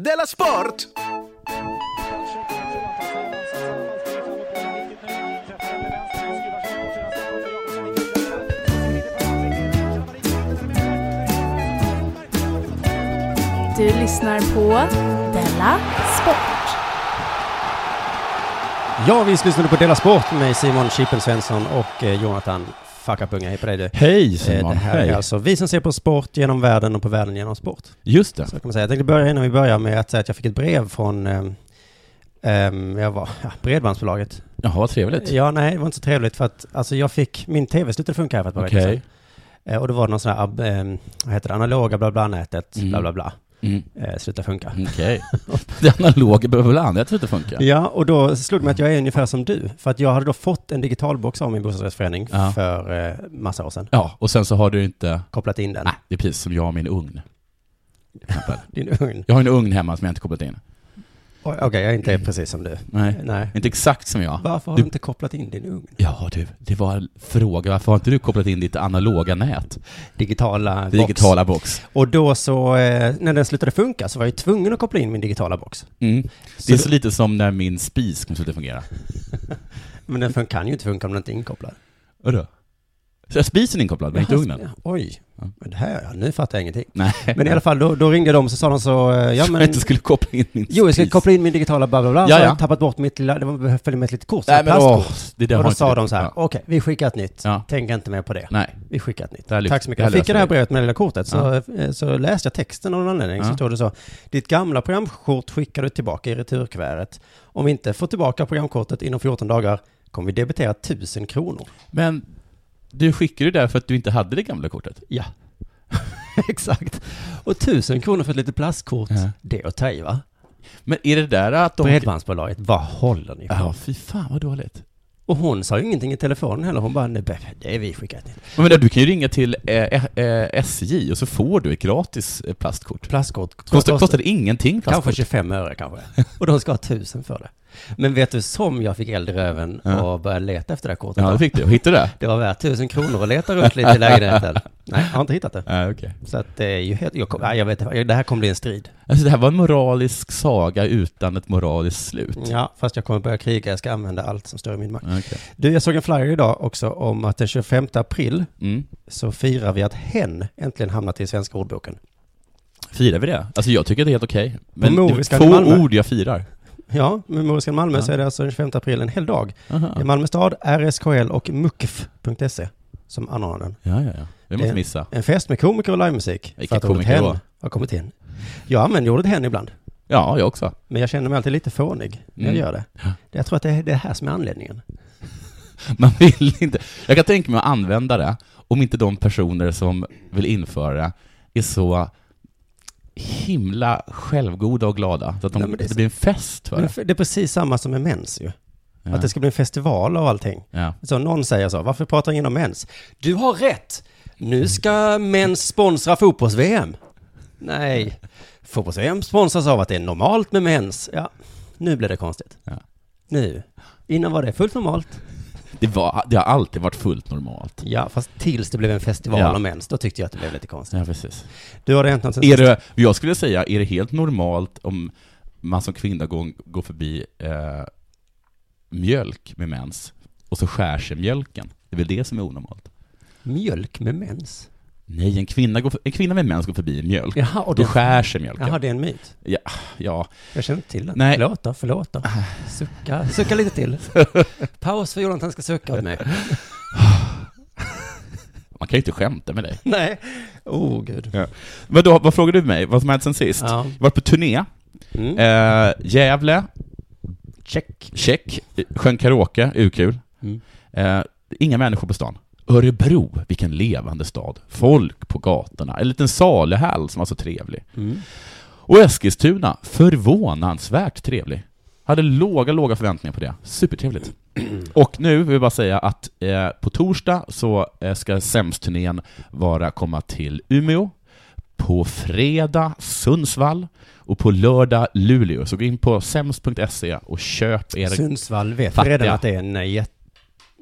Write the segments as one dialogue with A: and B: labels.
A: Della Sport!
B: Du lyssnar på Della Sport.
C: Ja, vi ska lyssna på Dela Sport med Simon Chippen Svensson och eh, Jonathan Fackapunga. Hej på dig du.
D: Hej
C: Eh,
D: Simon,
C: Det här
D: hej.
C: är alltså vi som ser på sport genom världen och på världen genom sport.
D: Just det.
C: Så kan man säga. Jag tänkte börja innan vi börjar med att säga att jag fick ett brev från ehm, ehm, jag var, ja, Bredbandsbolaget.
D: Jaha, vad trevligt.
C: Ja, nej, det var inte så trevligt för att alltså, jag fick, min tv slutade funka här för ett par
D: Okej.
C: veckor sedan. Eh, och då var det någon sån här, ab, ehm, vad heter det, analoga bla bla nätet,
D: Mm.
C: bla bla bla,
D: Mm.
C: eh, slutade funka.
D: Okej. Det analoga behöver väl andra, jag tror det funkar.
C: Ja, och då slog det mig att jag är ungefär som du. För att jag hade då fått en digital box av min bostadsrättsförening
D: Ja.
C: för eh, massa år sedan.
D: Ja, och sen så har du inte...
C: Kopplat in den.
D: Nej, det är precis som jag och min ugn.
C: Din ugn.
D: Jag har en ugn hemma som jag inte kopplat in.
C: Oj, Okej, jag är inte precis som du.
D: Nej.
C: Nej.
D: Inte exakt som jag.
C: Varför har
D: Du-
C: du inte kopplat in din ugn?
D: Ja du, det var en fråga. Varför har inte du kopplat in ditt analoga nät?
C: Digitala box.
D: Digitala box.
C: Och då så, eh, när den slutade funka så var jag ju tvungen att koppla in min digitala box.
D: Mm. Det är så lite som när min spis kommer sluta fungera.
C: Men den fun- kan ju inte funka om den inte är inkopplad.
D: Vadå? Så spisen är inkopplad, men inte
C: Jaha,
D: ugnen?
C: Oj,
D: Ja.
C: men det här, ja, nu fattar jag ingenting.
D: Nej.
C: Men i alla fall, då, då ringde de och så sa de så, eh, ja
D: Så
C: men...
D: Jag inte skulle koppla in min spis.
C: Jo, jag ska koppla in min digitala bla bla bla,
D: Ja,
C: så har
D: ja.
C: jag tappat bort mitt lilla, det var- följde med ett litet kort,
D: Nej
C: ett
D: men
C: plastkort.
D: åh, det där
C: och
D: har
C: då
D: inte
C: sa
D: du.
C: de så här,
D: Ja.
C: okej, vi skickar ett nytt.
D: Ja.
C: Tänk inte mer på det.
D: Nej.
C: Vi skickar ett nytt.
D: Det här lyfter-
C: Tack så mycket.
D: det här
C: Jag fick
D: löser
C: det här
D: vi.
C: brevet med det lilla kortet, så, eh, så läste jag texten av någon anledning, så
D: Ja.
C: stod det så. Ditt gamla programkort skickar du tillbaka i returkuvertet. Om vi inte får tillbaka programkortet inom 14 dagar kommer vi debitera 1000 kronor.
D: Men du skickade ju det där för att du inte hade det gamla kortet.
C: Ja. Exakt. Och 1000 kronor för ett litet plastkort,
D: Ja.
C: det är att ta i va?
D: Men är det där att de...
C: Bredbandsbolaget, vad håller ni på
D: Ja, fy fan vad dåligt.
C: Och hon sa ju ingenting i telefonen heller, hon bara, nej, det är vi skickat nytt.
D: Men menar, du kan ju ringa till eh, eh, SJ och så får du ett gratis eh, plastkort.
C: Plastkort
D: Kostar, kostade ingenting
C: Kanske
D: plastkort.
C: 25 öre kanske. Och de ska ha tusen för det. Men vet du, som jag fick eld i röven
D: Ja.
C: och började leta efter det här kortet.
D: Ja,
C: va?
D: det fick du. Hittade du det?
C: det var värt tusen kronor att leta runt lite i lägenheten. Nej, jag har inte hittat det.
D: Ja, okej.
C: Så att det är ju helt, jag, kom, nej, jag vet inte, det här kommer bli en strid.
D: Alltså det här var en moralisk saga utan ett moraliskt slut.
C: Ja, fast jag kommer börja kriga, jag ska använda allt som står i min makt.
D: Okej.
C: Du, jag såg en flyer idag också om att den 25 april
D: Mm.
C: så firar vi att hen äntligen hamnat i Svenska ordboken.
D: Firar vi det? Alltså jag tycker det är helt okej. Men det
C: Moriska
D: är
C: i Malmö.
D: få ord jag firar.
C: Ja, med Moriskan Malmö
D: Ja.
C: så är det alltså den 25 april en hel dag.
D: Aha.
C: I Malmö stad, RSKL och mukf.se E, som anordnar den.
D: Ja, ja, ja. Det måste
C: Det-
D: missa.
C: En fest med komiker och livemusik.
D: Vilka
C: För att ordet
D: komiker
C: hen
D: då?
C: har kommit in. Jag använder ordet hen ibland,
D: Ja, jag också.
C: men jag känner mig alltid lite fånig när
D: Mm.
C: jag gör det.
D: Ja.
C: Jag tror att det är det här som är anledningen.
D: Man vill inte. Jag kan tänka mig att använda det om inte de personer som vill införa det är så himla självgoda och glada. Så att de,
C: Nej, men det är
D: det,
C: så-
D: blir en fest för
C: Men
D: det.
C: det är precis samma som med mens ju.
D: Ja.
C: Att det ska bli en festival av allting.
D: ja.
C: Så någon säger så, varför pratar ingen om mens? Du har rätt! Nu ska mens sponsra fotbolls-VM. Nej, fotbolls-VM sponsras av att det är normalt med mens. Ja, nu blir det konstigt.
D: Ja.
C: Nu. Innan var det fullt normalt.
D: Det, var, det har alltid varit fullt normalt.
C: Ja, fast tills det blev en festival
D: Ja.
C: om mens, då tyckte jag att det blev lite konstigt.
D: Ja, precis.
C: Du har det hänt något sen
D: Är det, jag skulle säga, är det helt normalt om man som kvinna går, går förbi eh, mjölk med mens och så skär sig mjölken? Det är väl det som är onormalt?
C: Mjölk med mens?
D: Nej, en kvinna, går, för- en kvinna med mens går förbi mjölk.
C: Jaha, och
D: Då
C: det,
D: skär sig mjölken.
C: jaha, det är en myt.
D: Ja,
C: Jag känner inte till den.
D: Nej. Ah.
C: Förlåt då, förlåt då. Sucka, sucka lite till. Paus för Jonathan ska sucka åt mig.
D: man kan ju inte skämta med dig.
C: Nej. Oh, gud.
D: Men då, vad frågade du mig? Vad som hänt sen sist?
C: Ja.
D: Jag var på turné.
C: Mm.
D: Eh, Gävle,
C: Check.
D: check. Sjöng karaoke, urkul.
C: Mm.
D: Eh, inga människor på stan. Örebro, vilken levande stad. Folk på gatorna. En liten saluhall som var så trevlig.
C: Mm.
D: Och Eskilstuna, förvånansvärt trevlig. Hade låga, låga förväntningar på det. Supertrevligt. Och nu vill jag bara säga att eh, på torsdag så eh, ska SEMS-turnén vara komma till Umeå, på fredag Sundsvall och på lördag Luleå. Så gå in på sems.se och köp era...
C: Sundsvall vet
D: Fattiga.
C: redan att det är en jätte...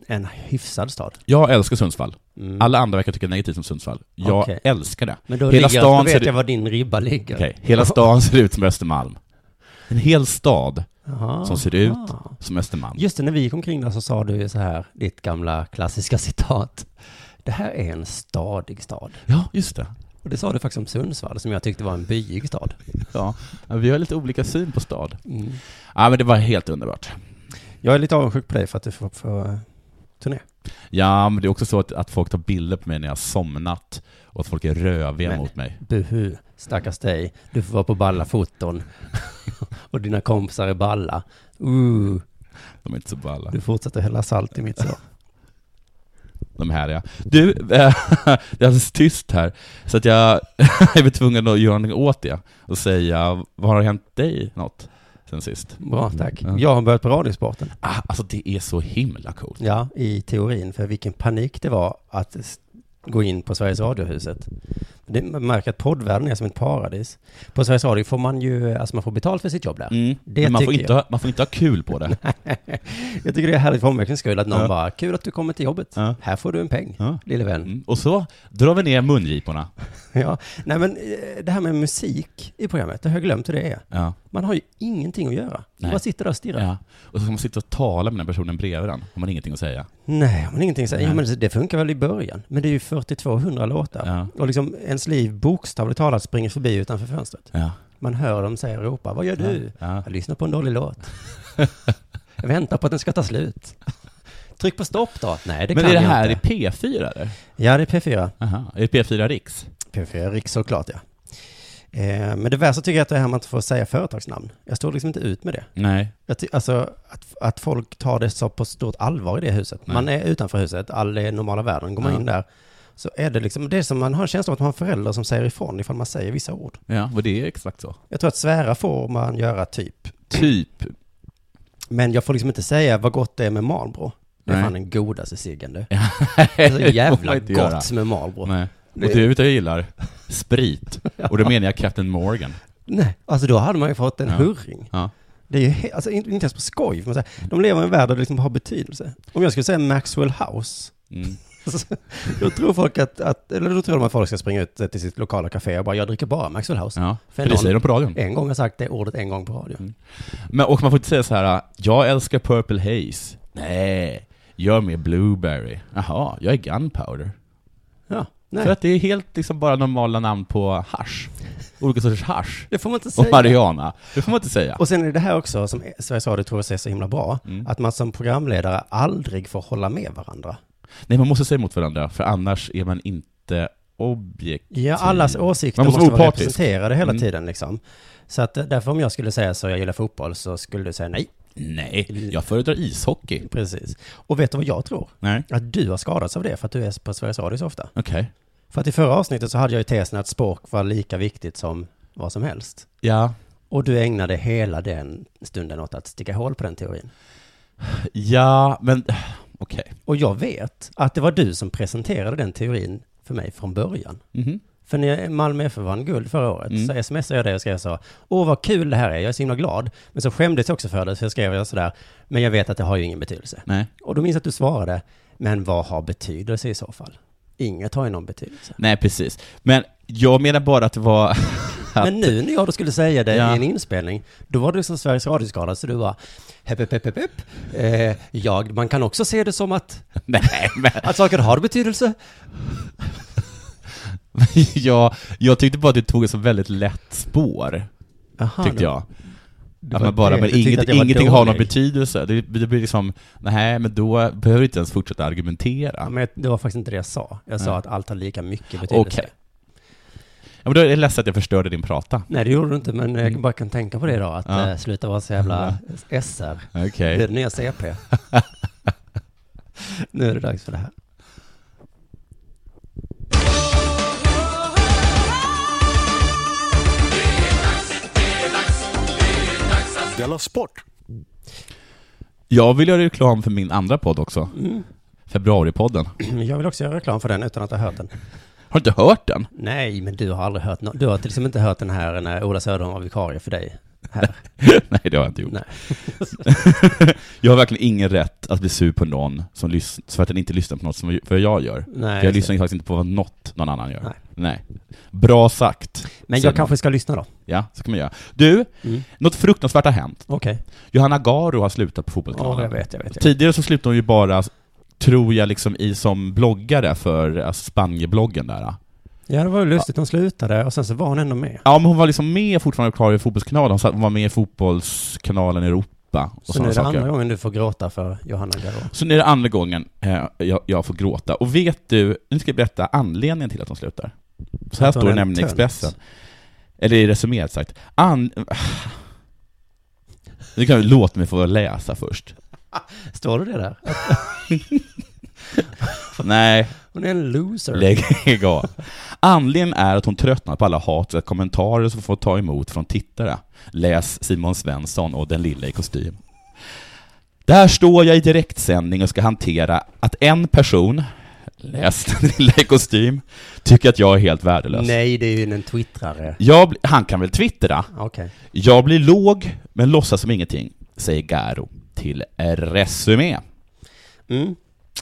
C: en hyfsad stad.
D: Jag älskar Sundsvall.
C: Mm.
D: Alla andra verkar tycka negativt om Sundsvall. Jag
C: Okej.
D: älskar det.
C: Men då,
D: Hela
C: ligger,
D: stan
C: då
D: ser
C: vet
D: det-
C: jag var din ribba ligger.
D: Okej, Hela stan ser ut som Östermalm. En hel stad
C: Jaha.
D: som ser ut
C: Ah.
D: som Östermalm.
C: Just det, när vi gick omkring där så sa du ju så här, ditt gamla klassiska citat. Det här är en stadig stad.
D: Ja, just det.
C: Och det sa du faktiskt om Sundsvall, som jag tyckte var en byig stad.
D: Ja. Ja, Vi har lite olika syn på stad.
C: Mm.
D: Ja, men det var helt underbart.
C: Jag är lite avundsjuk på dig för att du får, får eh, turné.
D: Ja, men det är också så att, att folk tar bilder på mig när jag har somnat och att folk är röviga
C: Men-
D: mot mig.
C: Buhu, stackars dig. Du får vara på balla foton. och dina kompisar är balla. Uh,
D: De är inte så balla.
C: du fortsätter hälla salt i mitt sår.
D: De här ja. Du, eh, det är alldeles tyst här, så att jag är tvungen att göra någonting åt det och säga, vad har hänt dig något sen sist?
C: Bra, tack.
D: Ja.
C: Jag har börjat på Radiosporten.
D: Ah, alltså det är så himla coolt.
C: Ja, i teorin. För vilken panik det var att s- gå in på Sveriges Radiohuset. Det man märker att poddvärlden är som ett paradis. På Sveriges Radio får man ju, alltså man får betalt för sitt jobb där.
D: Mm.
C: det
D: Men man får,
C: tycker
D: inte, ha- man får inte ha kul på det.
C: Jag tycker det är härligt för omväxlings skull att någon
D: Ja.
C: bara, kul att du kommer till jobbet.
D: Ja.
C: Här får du en peng,
D: Ja.
C: lille vän.
D: Mm. Och så drar vi ner mungiporna.
C: Ja. Nej men eh, det här med musik i programmet, det har jag glömt hur det är.
D: Ja.
C: Man har ju ingenting att göra. Man
D: Nej.
C: bara sitter där och stirrar.
D: Ja. Och så ska man sitta och tala med den personen bredvid den, har man ingenting att säga.
C: Nej, men ingenting så. Ja,
D: Nej.
C: men det funkar väl i början. Men det är ju 4200 låtar.
D: Ja.
C: Och liksom ens liv bokstavligt talat springer förbi utanför fönstret.
D: Ja.
C: Man hör dem säga och ropa, vad gör du?
D: Ja.
C: Jag lyssnar på en dålig låt. jag väntar på att den ska ta slut. Tryck på stopp då. Nej, det
D: Men
C: kan
D: är det
C: jag
D: här i
C: inte.
D: P4 eller?
C: Ja, det är P4.
D: Aha. Är det P4 Riks?
C: P4 Riks såklart, ja. Eh, men det värsta tycker jag att det är här man inte får säga företagsnamn. Jag står liksom inte ut med det.
D: Nej.
C: Jag ty- alltså, att, att folk tar det så på stort allvar i det huset.
D: Nej.
C: Man är utanför huset, all är normala världen. Går man
D: Ja.
C: in där så är det liksom, det är som man har en känsla av att man har föräldrar som säger ifrån ifall man säger vissa ord.
D: Ja, och det är exakt så.
C: Jag tror att svära får man göra typ.
D: Typ.
C: Men jag får liksom inte säga vad gott det är med Marlboro. Det är
D: Nej.
C: fan den godaste ciggen du. Det
D: det
C: är så
D: får man
C: jävla
D: inte
C: gott
D: göra.
C: med Marlboro. Nej.
D: Nej. Och typ- du vet vad jag gillar? Sprit. Och då menar jag Captain Morgan.
C: alltså då hade man ju fått en
D: Ja.
C: hurring.
D: Ja.
C: Det är ju he- alltså, inte inte ens på skoj. får Man säga. De lever i en värld där det liksom har betydelse. Om jag skulle säga Maxwell House,
D: Mm.
C: Då tror folk att, att, eller då tror de att folk ska springa ut till sitt lokala café och bara, jag dricker bara Maxwell House.
D: ja. Mm. För
C: För
D: det
C: någon-
D: säger de på radion.
C: En gång har jag sagt det ordet en gång på radio.
D: Men, och man får inte säga så här, jag älskar Purple Haze. Nej, gör mer Blueberry. Jaha, jag är Gunpowder.
C: Ja,
D: För
C: nej.
D: att det är helt liksom bara normala namn på hasch. Olika sorters hasch.
C: Det får man inte
D: Och
C: säga.
D: Mariana. Det får man inte säga.
C: Och sen är det här också som Sveriges Radio tror jag är så himla bra,
D: Mm.
C: att man som programledare aldrig får hålla med varandra.
D: Nej, man måste säga emot varandra, för annars är man inte objektiv.
C: Ja, allas åsikter
D: Mm. Man
C: måste,
D: måste vara
C: vara
D: opartisk.
C: representerade hela
D: Mm.
C: tiden liksom. Så att eh, därför om jag skulle säga så, jag gillar fotboll, så skulle du säga nej.
D: Nej, jag föredrar ishockey.
C: Precis. Och vet du vad jag tror?
D: Nej.
C: Att du har skadats av det för att du är på Sveriges Radio så ofta.
D: Okej.
C: För att i förra avsnittet så hade jag ju tesen att språk var lika viktigt som vad som helst.
D: Ja.
C: Och du ägnade hela den stunden åt att sticka hål på den teorin.
D: Ja, men okej.
C: Och jag vet att det var du som presenterade den teorin för mig från början.
D: Mhm.
C: För när Malmö FF vann guld förra året
D: Mm.
C: så smsade jag dig och skrev så, åh vad kul det här är, jag är så himla glad. Men så skämdes jag också för det, så jag skrev jag sådär, men jag vet att det har ju ingen betydelse.
D: Nej.
C: Och då minns jag att du svarade, men vad har betydelse i så fall? Inget har ju någon betydelse.
D: Nej, precis. Men jag menar bara att det var... att-
C: Men nu när jag då skulle säga det
D: Ja.
C: i en inspelning, då var det som Sveriges Radioskala, så du var hepp, hepp, hepp, hepp, hepp. Eh, jag, man kan också se det som att,
D: Nej, men
C: att saker har betydelse.
D: jag, jag tyckte bara att det tog ett så väldigt lätt spår,
C: Aha,
D: tyckte
C: nu-
D: jag.
C: det
D: Att
C: var
D: man bara,
C: det.
D: men
C: Du tyckte
D: inget,
C: att jag var
D: ingenting har någon
C: dålig.
D: betydelse. Det, det blir liksom, nej, men då behöver du inte ens fortsätta argumentera.
C: Ja, men det var faktiskt inte det jag sa. Jag sa
D: Nej.
C: att allt har lika mycket betydelse.
D: Okej. Ja, men då är jag ledsen att jag förstörde din prata.
C: Nej, det gjorde du inte, men jag bara kan tänka på det idag, att
D: Ja.
C: eh, sluta vara så jävla SR.
D: Okej.
C: Det är det nya CP. nu är det dags för det här.
A: Della Sport!
D: Jag vill göra reklam för min andra podd också.
C: Mm.
D: Februaripodden.
C: Jag vill också göra reklam för den utan att ha hört den.
D: Har du inte hört den?
C: liksom Nej, men du har aldrig hört no- Du har till exempel inte hört den här när Ola Söderholm var vikarie för dig. här.
D: Nej, det har jag inte gjort.
C: Nej.
D: jag har verkligen ingen rätt att bli sur på någon som lyssnar, för att den inte lyssnar på något som vad jag gör.
C: Nej,
D: för jag
C: just
D: lyssnar faktiskt inte på vad något någon annan gör.
C: Nej.
D: Bra sagt.
C: Men
D: säger
C: jag
D: man.
C: kanske ska lyssna då.
D: Ja, så kan man göra. Du,
C: Mm.
D: något fruktansvärt har hänt.
C: Okej.
D: Johanna Garo har slutat på
C: Ja, jag
D: Fotbollskanalen.
C: vet, jag vet. Jag.
D: Tidigare så slutade hon ju bara, tror jag, liksom i som bloggare för alltså, Spanienbloggen där.
C: Ja, det var ju lustigt. Hon slutade och sen så var hon ändå med.
D: Ja, men hon var liksom med fortfarande kvar i Fotbollskanalen. Hon satt- Hon var med i Fotbollskanalen Europa och
C: Så nu
D: sådana
C: är det
D: saker.
C: andra gången du får gråta för Johanna Garå.
D: Så nu är det andra gången eh, jag, jag får gråta. Och vet du, nu ska jag berätta anledningen till att de slutar. Så här
C: Att
D: står
C: hon
D: det
C: är en
D: nämligen i
C: tönt.
D: Expressen. Eller i resuméet sagt. An... Nu kan jag låta mig få läsa först.
C: Står det det där?
D: Nej,
C: Hon är en loser.
D: lägg lägg av. Anledningen är att hon tröttnat på alla hat och kommentarer som får ta emot från tittare. Läs Simon Svensson och den lilla i kostym. Där står jag i direktsändning och ska hantera att en person, läs den lilla i kostym, tycker att jag är helt värdelös.
C: Nej, det är ju en twittrare.
D: Jag, bli- han kan väl twittra?
C: Okej.
D: Jag blir låg, men låtsas som ingenting, säger Garo till Resumé.
C: Mm.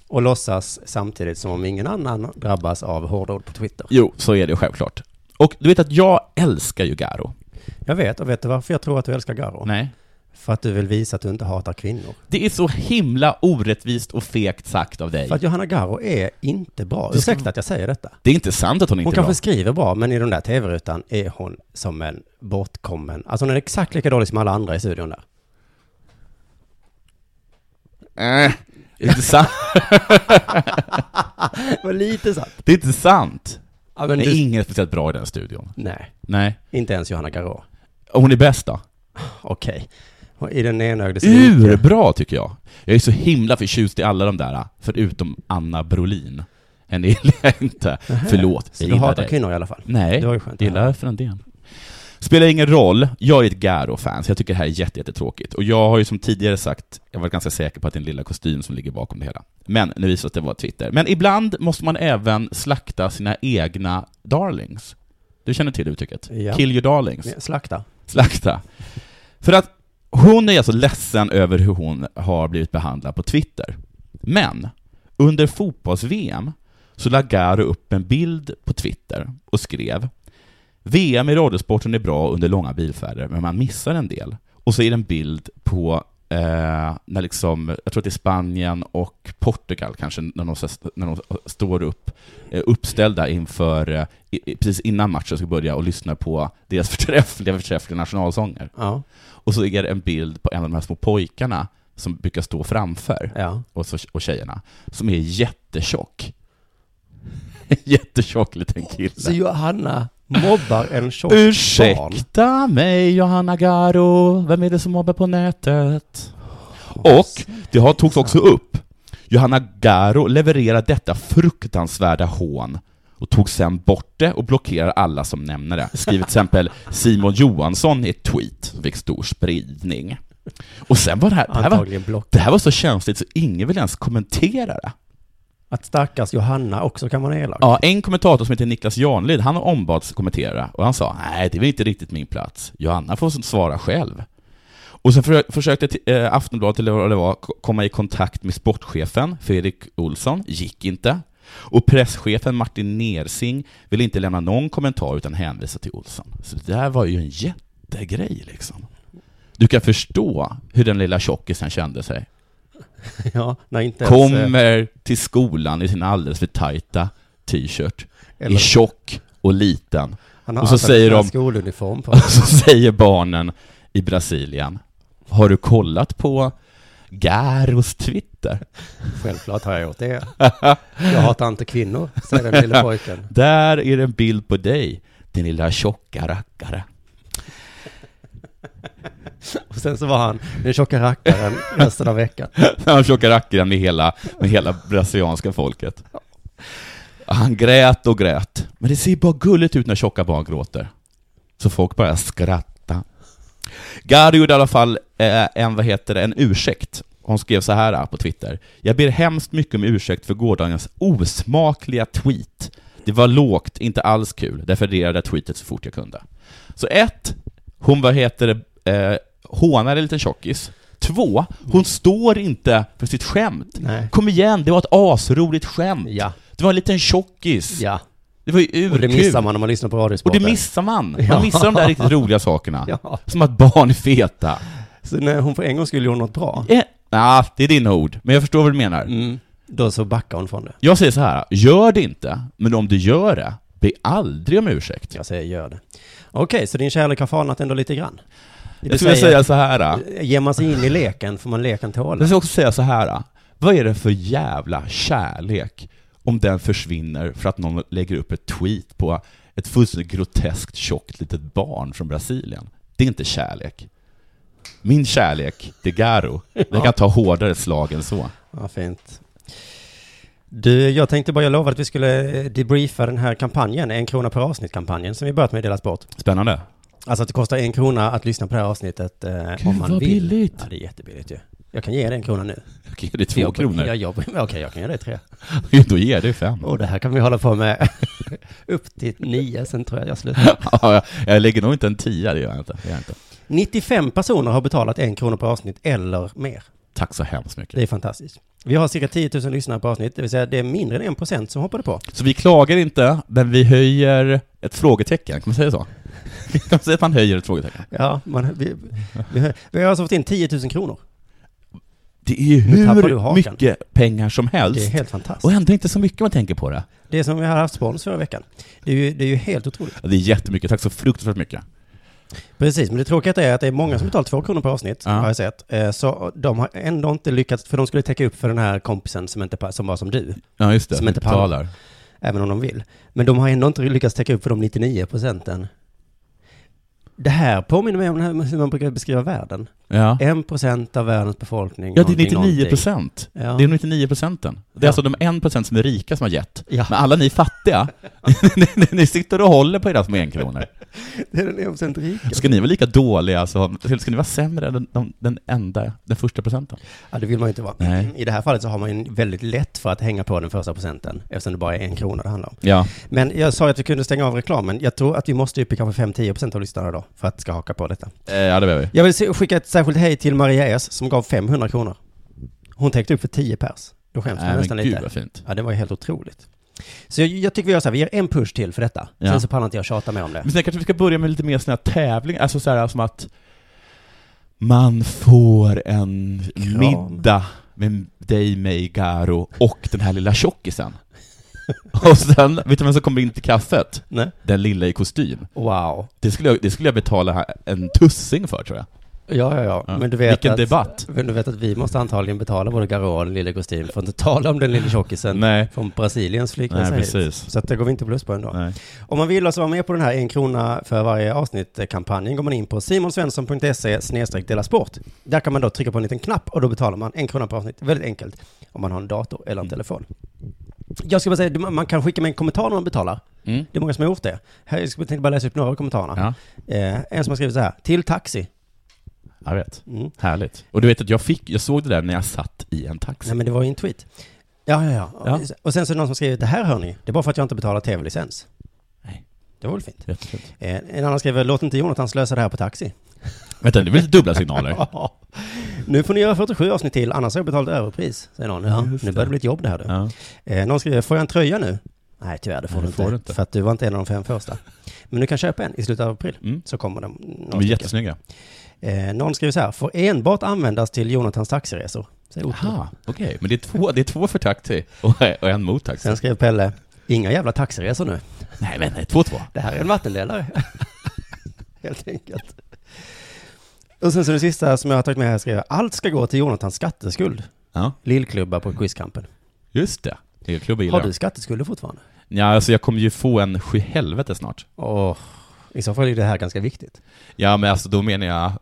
C: Och låtsas samtidigt som om ingen annan drabbas av hårdord på Twitter.
D: Jo, så är det självklart. Och du vet att jag älskar ju Garo.
C: Jag vet, och vet du varför jag tror att du älskar Garro?
D: Nej.
C: För att du vill visa att du inte hatar kvinnor.
D: Det är så himla orättvist och fegt sagt av dig.
C: För att Johanna Garro är inte bra.
D: Du ska-
C: Ursäkta att jag säger detta.
D: Det är inte sant att hon inte
C: Hon
D: är
C: kanske
D: bra.
C: skriver bra, men i den där tv-rutan är hon som en bortkommen. Alltså hon är exakt lika dålig som alla andra i studion där.
D: Äh, det, är inte sant.
C: Men lite sant.
D: det är inte sant.
C: Ja, men
D: det är
C: du...
D: ingen speciellt bra i den studion.
C: Nej,
D: Nej.
C: inte ens Johanna Garå.
D: Och hon är bäst då?
C: Okej. Och I den enögdes rike.
D: Urbra tycker jag. Jag är så himla förtjust i alla de där, förutom Anna Brolin. Henne gillar jag inte. Förlåt,
C: Så
D: jag
C: du
D: gillar
C: hatar
D: dig.
C: kvinnor i alla fall?
D: Nej,
C: Det var ju skönt.
D: jag gillar Frändén. Spelar ingen roll, jag är ett Garo-fan, så jag tycker det här är jätte- jättetråkigt. Och jag har ju som tidigare sagt, jag var ganska säker på att det är en lilla kostym som ligger bakom det hela. Men nu visar det sig att det var Twitter. Men ibland måste man även slakta sina egna darlings. Du känner till uttrycket?
C: Ja.
D: Kill your darlings.
C: Ja, Slakta.
D: Slakta. För att hon är alltså ledsen över hur hon har blivit behandlad på Twitter. Men under fotbolls-VM så la Garo upp en bild på Twitter och skrev VM i radiosporten är bra under långa bilfärder, men man missar en del. Och så är det en bild på eh, när liksom, jag tror att det är Spanien och Portugal kanske, när de, så- när de står upp, eh, uppställda inför, eh, i- i- precis innan matchen ska börja och lyssnar på deras förträffliga, förträffliga nationalsånger.
C: Ja.
D: Och så är det en bild på en av de här små pojkarna som brukar stå framför
C: Ja.
D: och, så, och tjejerna, som är jättetjock. jättetjock liten
C: Så
D: kille.
C: Johanna mobbar en tjock barn.
D: Ursäkta mig Johanna Garo, vem är det som mobbar på nätet? Och det har togs också upp. Johanna Garo levererar detta fruktansvärda hån och tog sen bort det och blockerar alla som nämner det. Skriver till exempel Simon Johansson i ett tweet som fick stor spridning. Och sen var det här, det här, var,
C: Antagligen block.
D: det här var så känsligt så ingen ville ens kommentera det.
C: Att stackars Johanna också kan vara elak.
D: Ja, en kommentator som heter Niklas Janlid, han har ombads kommentera och han sa nej, det är väl inte riktigt min plats. Johanna får svara själv. Och sen för, försökte t- eh, Aftonbladet, eller vad det var, ko- komma i kontakt med sportchefen Fredrik Olsson, gick inte. Och presschefen Martin Nersing ville inte lämna någon kommentar utan hänvisa till Olsson. Så det där var ju en jättegrej liksom. Du kan förstå hur den lilla tjockisen kände sig.
C: Ja, när inte ens, eh,
D: Kommer till skolan i sin alldeles för tajta t-shirt.
C: Eller-
D: Är tjock och liten.
C: han har
D: och så
C: alltså
D: säger
C: en
D: de-
C: skoluniform på.
D: Och så säger barnen i Brasilien, har du kollat på Garos Twitter?
C: Självklart har jag gjort det. Jag hatar inte kvinnor, säger den lille pojken.
D: Där är det en bild på dig, din lilla tjocka rackare.
C: Och sen så var han den tjocka rackaren resten av veckan.
D: Den tjocka rackaren med hela, med hela brasilianska folket. Han grät och grät. Men det ser bara gulligt ut när tjocka barn gråter. Så folk börjar skratta. Gary gjorde i alla fall eh, en, vad heter det, en ursäkt. Hon skrev så här eh, på Twitter. Jag ber hemskt mycket om ursäkt för gårdagens osmakliga tweet. Det var lågt, inte alls kul. Därför reagerade jag tweetet så fort jag kunde. Så ett, hon vad heter det, eh, hånar en liten tjockis. Två, hon står inte för sitt skämt.
C: Mm. Nej.
D: Kom igen, det var ett asroligt skämt.
C: Ja.
D: Det var en liten tjockis.
C: Ja.
D: Det var ju
C: Och det
D: urkul.
C: missar man när man lyssnar på
D: Och
C: Radiosporten.
D: det missar man.
C: Ja.
D: Man missar de där riktigt roliga sakerna.
C: Ja.
D: Som att barn är feta.
C: Så när hon för en gång skulle göra något bra,
D: Eh, nah, det är dina ord, men jag förstår vad du menar.
C: mm, då så backar hon från det.
D: Jag säger så här, gör det inte, men om du gör det, be aldrig om ursäkt.
C: Jag säger gör det. Okej, så din kärlek har falnat ändå lite grann? Det
D: Jag skulle
C: vill säga,
D: säga Mm. så här,
C: Ger man sig in i leken får man leken
D: jag
C: tåla.
D: skulle också säga så här, äh, vad är det för jävla kärlek om den försvinner för att någon lägger upp ett tweet på ett fullständigt groteskt tjockt litet barn från Brasilien? Det är inte kärlek. Min kärlek, det är Garo. Jag kan ta hårdare slag än så.
C: Ja, fint. Du, jag tänkte bara, jag lovade att vi skulle eh, debriefa den här kampanjen, en krona per avsnitt-kampanjen som vi börjat med i Dela Sport.
D: Spännande.
C: Alltså att det kostar en krona att lyssna på det här avsnittet eh,
D: Gud,
C: om man
D: vad
C: vill.
D: billigt.
C: Ja, det är jättebilligt ju. Jag kan ge dig en krona nu.
D: Okej, det är två
C: jag,
D: kronor.
C: Jag, jag, Okej, jag kan ge dig tre.
D: Då ger det fem.
C: Och det här kan vi hålla på med upp till nio, sen tror jag jag slutar.
D: Ja, jag- jag lägger nog inte en tia, det gör jag inte. Det gör jag inte.
C: 95 personer har betalat en krona per avsnitt eller mer.
D: Tack så hemskt mycket.
C: Det är fantastiskt. Vi har cirka 10 000 lyssnare per avsnitt, det vill säga det är mindre än en procent som hoppade på.
D: Så vi klagar inte, men vi höjer ett frågetecken. Kan man säga så? kan man säga att man höjer ett frågetecken?
C: Ja, man, vi, vi, vi har alltså fått in 10 000 kronor.
D: Det är ju
C: Nu tappar du
D: hur
C: hakan.
D: mycket pengar som
C: Det är
D: helst.
C: helt
D: Och
C: fantastiskt.
D: ändå inte så mycket om man tänker på det.
C: Det är som vi har haft spons förra veckan. Det är ju, det är ju helt otroligt.
D: Ja, Det är jättemycket. Tack så fruktansvärt mycket.
C: Precis, men det tråkiga är att det är många som betalar 2 kronor per avsnitt,
D: Ja.
C: har jag sett. Eh, Så de har ändå inte lyckats, för de skulle täcka upp för den här kompisen som, inte, pa- som var som du,
D: Ja, just det.
C: Som inte
D: betalar.
C: även om de vill. Men de har ändå inte lyckats täcka upp för de 99 procenten. Det här påminner mig om den här- hur man brukar beskriva världen.
D: Ja.
C: En procent av världens befolkning.
D: ja, det är
C: någonting,
D: 99
C: någonting.
D: procent.
C: Ja.
D: Det är 99 procenten. Det är
C: Ja.
D: alltså de 1 procent som är rika som har gett.
C: Ja.
D: Men alla ni fattiga, ni, ni, ni sitter och håller på era små enkronor.
C: Det är den en procent rika.
D: Ska ni vara lika dåliga som, ska ni vara sämre än den, den enda, den första procenten?
C: Ja, det vill man ju inte vara.
D: Nej.
C: I det här fallet så har man ju väldigt lätt för att hänga på den första procenten, eftersom det bara är en krona det handlar om.
D: Ja.
C: Men jag sa ju att vi kunde stänga av reklamen. Jag tror att vi måste upp i kanske 5-10 procent av lyssnarna då, för att ska haka på detta.
D: Eh, ja, det behöver vi.
C: Jag vill se- skicka ett särskilt hej till Maria S som gav 500 kronor. Hon täckte upp för 10 pers. Då skäms man
D: Nej,
C: nästan
D: men gud
C: lite.
D: vad fint.
C: Ja, det var ju helt otroligt. Så jag, jag tycker vi gör så här, vi ger en push till för detta.
D: Ja.
C: Sen så pallar inte jag tjata mer om det.
D: Men sen kanske vi ska börja med lite mer sådana här tävlingar, alltså så här som att man får en
C: Kram.
D: middag med dig, mig, Garo och den här lilla tjockisen. och sen, vet du vem som kommer in till kaffet?
C: Nej.
D: Den lilla i kostym.
C: Wow.
D: Det skulle jag, det skulle jag betala här en tussing för tror jag.
C: Ja, ja, ja.
D: Ja.
C: Men du vet
D: Vilken
C: att,
D: debatt.
C: Men du vet att vi måste antagligen betala både Garo och den lille kostym, för att inte tala om den lille tjockisen
D: Nej.
C: från Brasiliens flygplats
D: Nej,
C: hit.
D: precis.
C: Så att det går vi inte plus på ändå.
D: Nej.
C: Om man vill alltså vara med på den här en krona för varje avsnitt-kampanjen går man in på simonsvensson.se snedstreck dela sport. Där kan man då trycka på en liten knapp och då betalar man en krona per avsnitt. Väldigt enkelt om man har en dator
D: Mm.
C: eller en telefon. Jag ska bara säga, man man kan skicka med en kommentar när man betalar.
D: Mm.
C: Det är många som har gjort det. Här, jag tänkte bara läsa upp några av kommentarerna.
D: Ja,
C: Eh, en som har skrivit så här, till taxi.
D: jag vet.
C: Mm.
D: Härligt. Och du vet att jag fick, jag såg det där när jag satt i en taxi.
C: Nej men det var ju en tweet. Ja, ja, ja.
D: Ja.
C: Och sen så är det någon som har skrivit, det här hör ni, det är bara för att jag inte betalar tv-licens.
D: Nej.
C: Det var väl fint.
D: Jättefint.
C: Eh, en annan skriver, låt inte Jonathan slösa det här på taxi.
D: Vänta, det blir lite dubbla signaler.
C: Ja. Nu får ni göra 47 avsnitt till, annars har jag betalat överpris, säger någon. Ja,
D: Just
C: nu
D: det.
C: börjar det bli ett jobb det här du.
D: Ja.
C: Eh, någon skriver, får jag en tröja nu? Nej, tyvärr, det får,
D: Nej, det
C: du, inte,
D: får du inte.
C: För att du var inte en av de fem första. Men du kan köpa en i slutet av april,
D: Mm.
C: så kommer de.
D: De
C: några
D: är
C: stycken.
D: jättesnygga.
C: Eh, någon skriver så här, får enbart användas till Jonathans taxiresor. Säger Otto.
D: Aha, okej. Men det är, två, det är två för taxi och, och en mot taxi.
C: Sen skrev Pelle, inga jävla taxiresor nu.
D: Nej men, nej, två två.
C: Det här är en vattendelare. Helt enkelt. Och sen så det sista som jag har tagit med här skriver, allt ska gå till Jonathans skatteskuld.
D: Ja,
C: Lillklubba på quizkampen.
D: just det. Det är klubben
C: Har
D: gillar
C: du
D: jag.
C: skatteskulder fortfarande?
D: Ja, alltså jag kommer ju få en sjuhelvete snart.
C: Åh, i så fall är det här ganska viktigt.
D: Ja, men alltså då menar jag,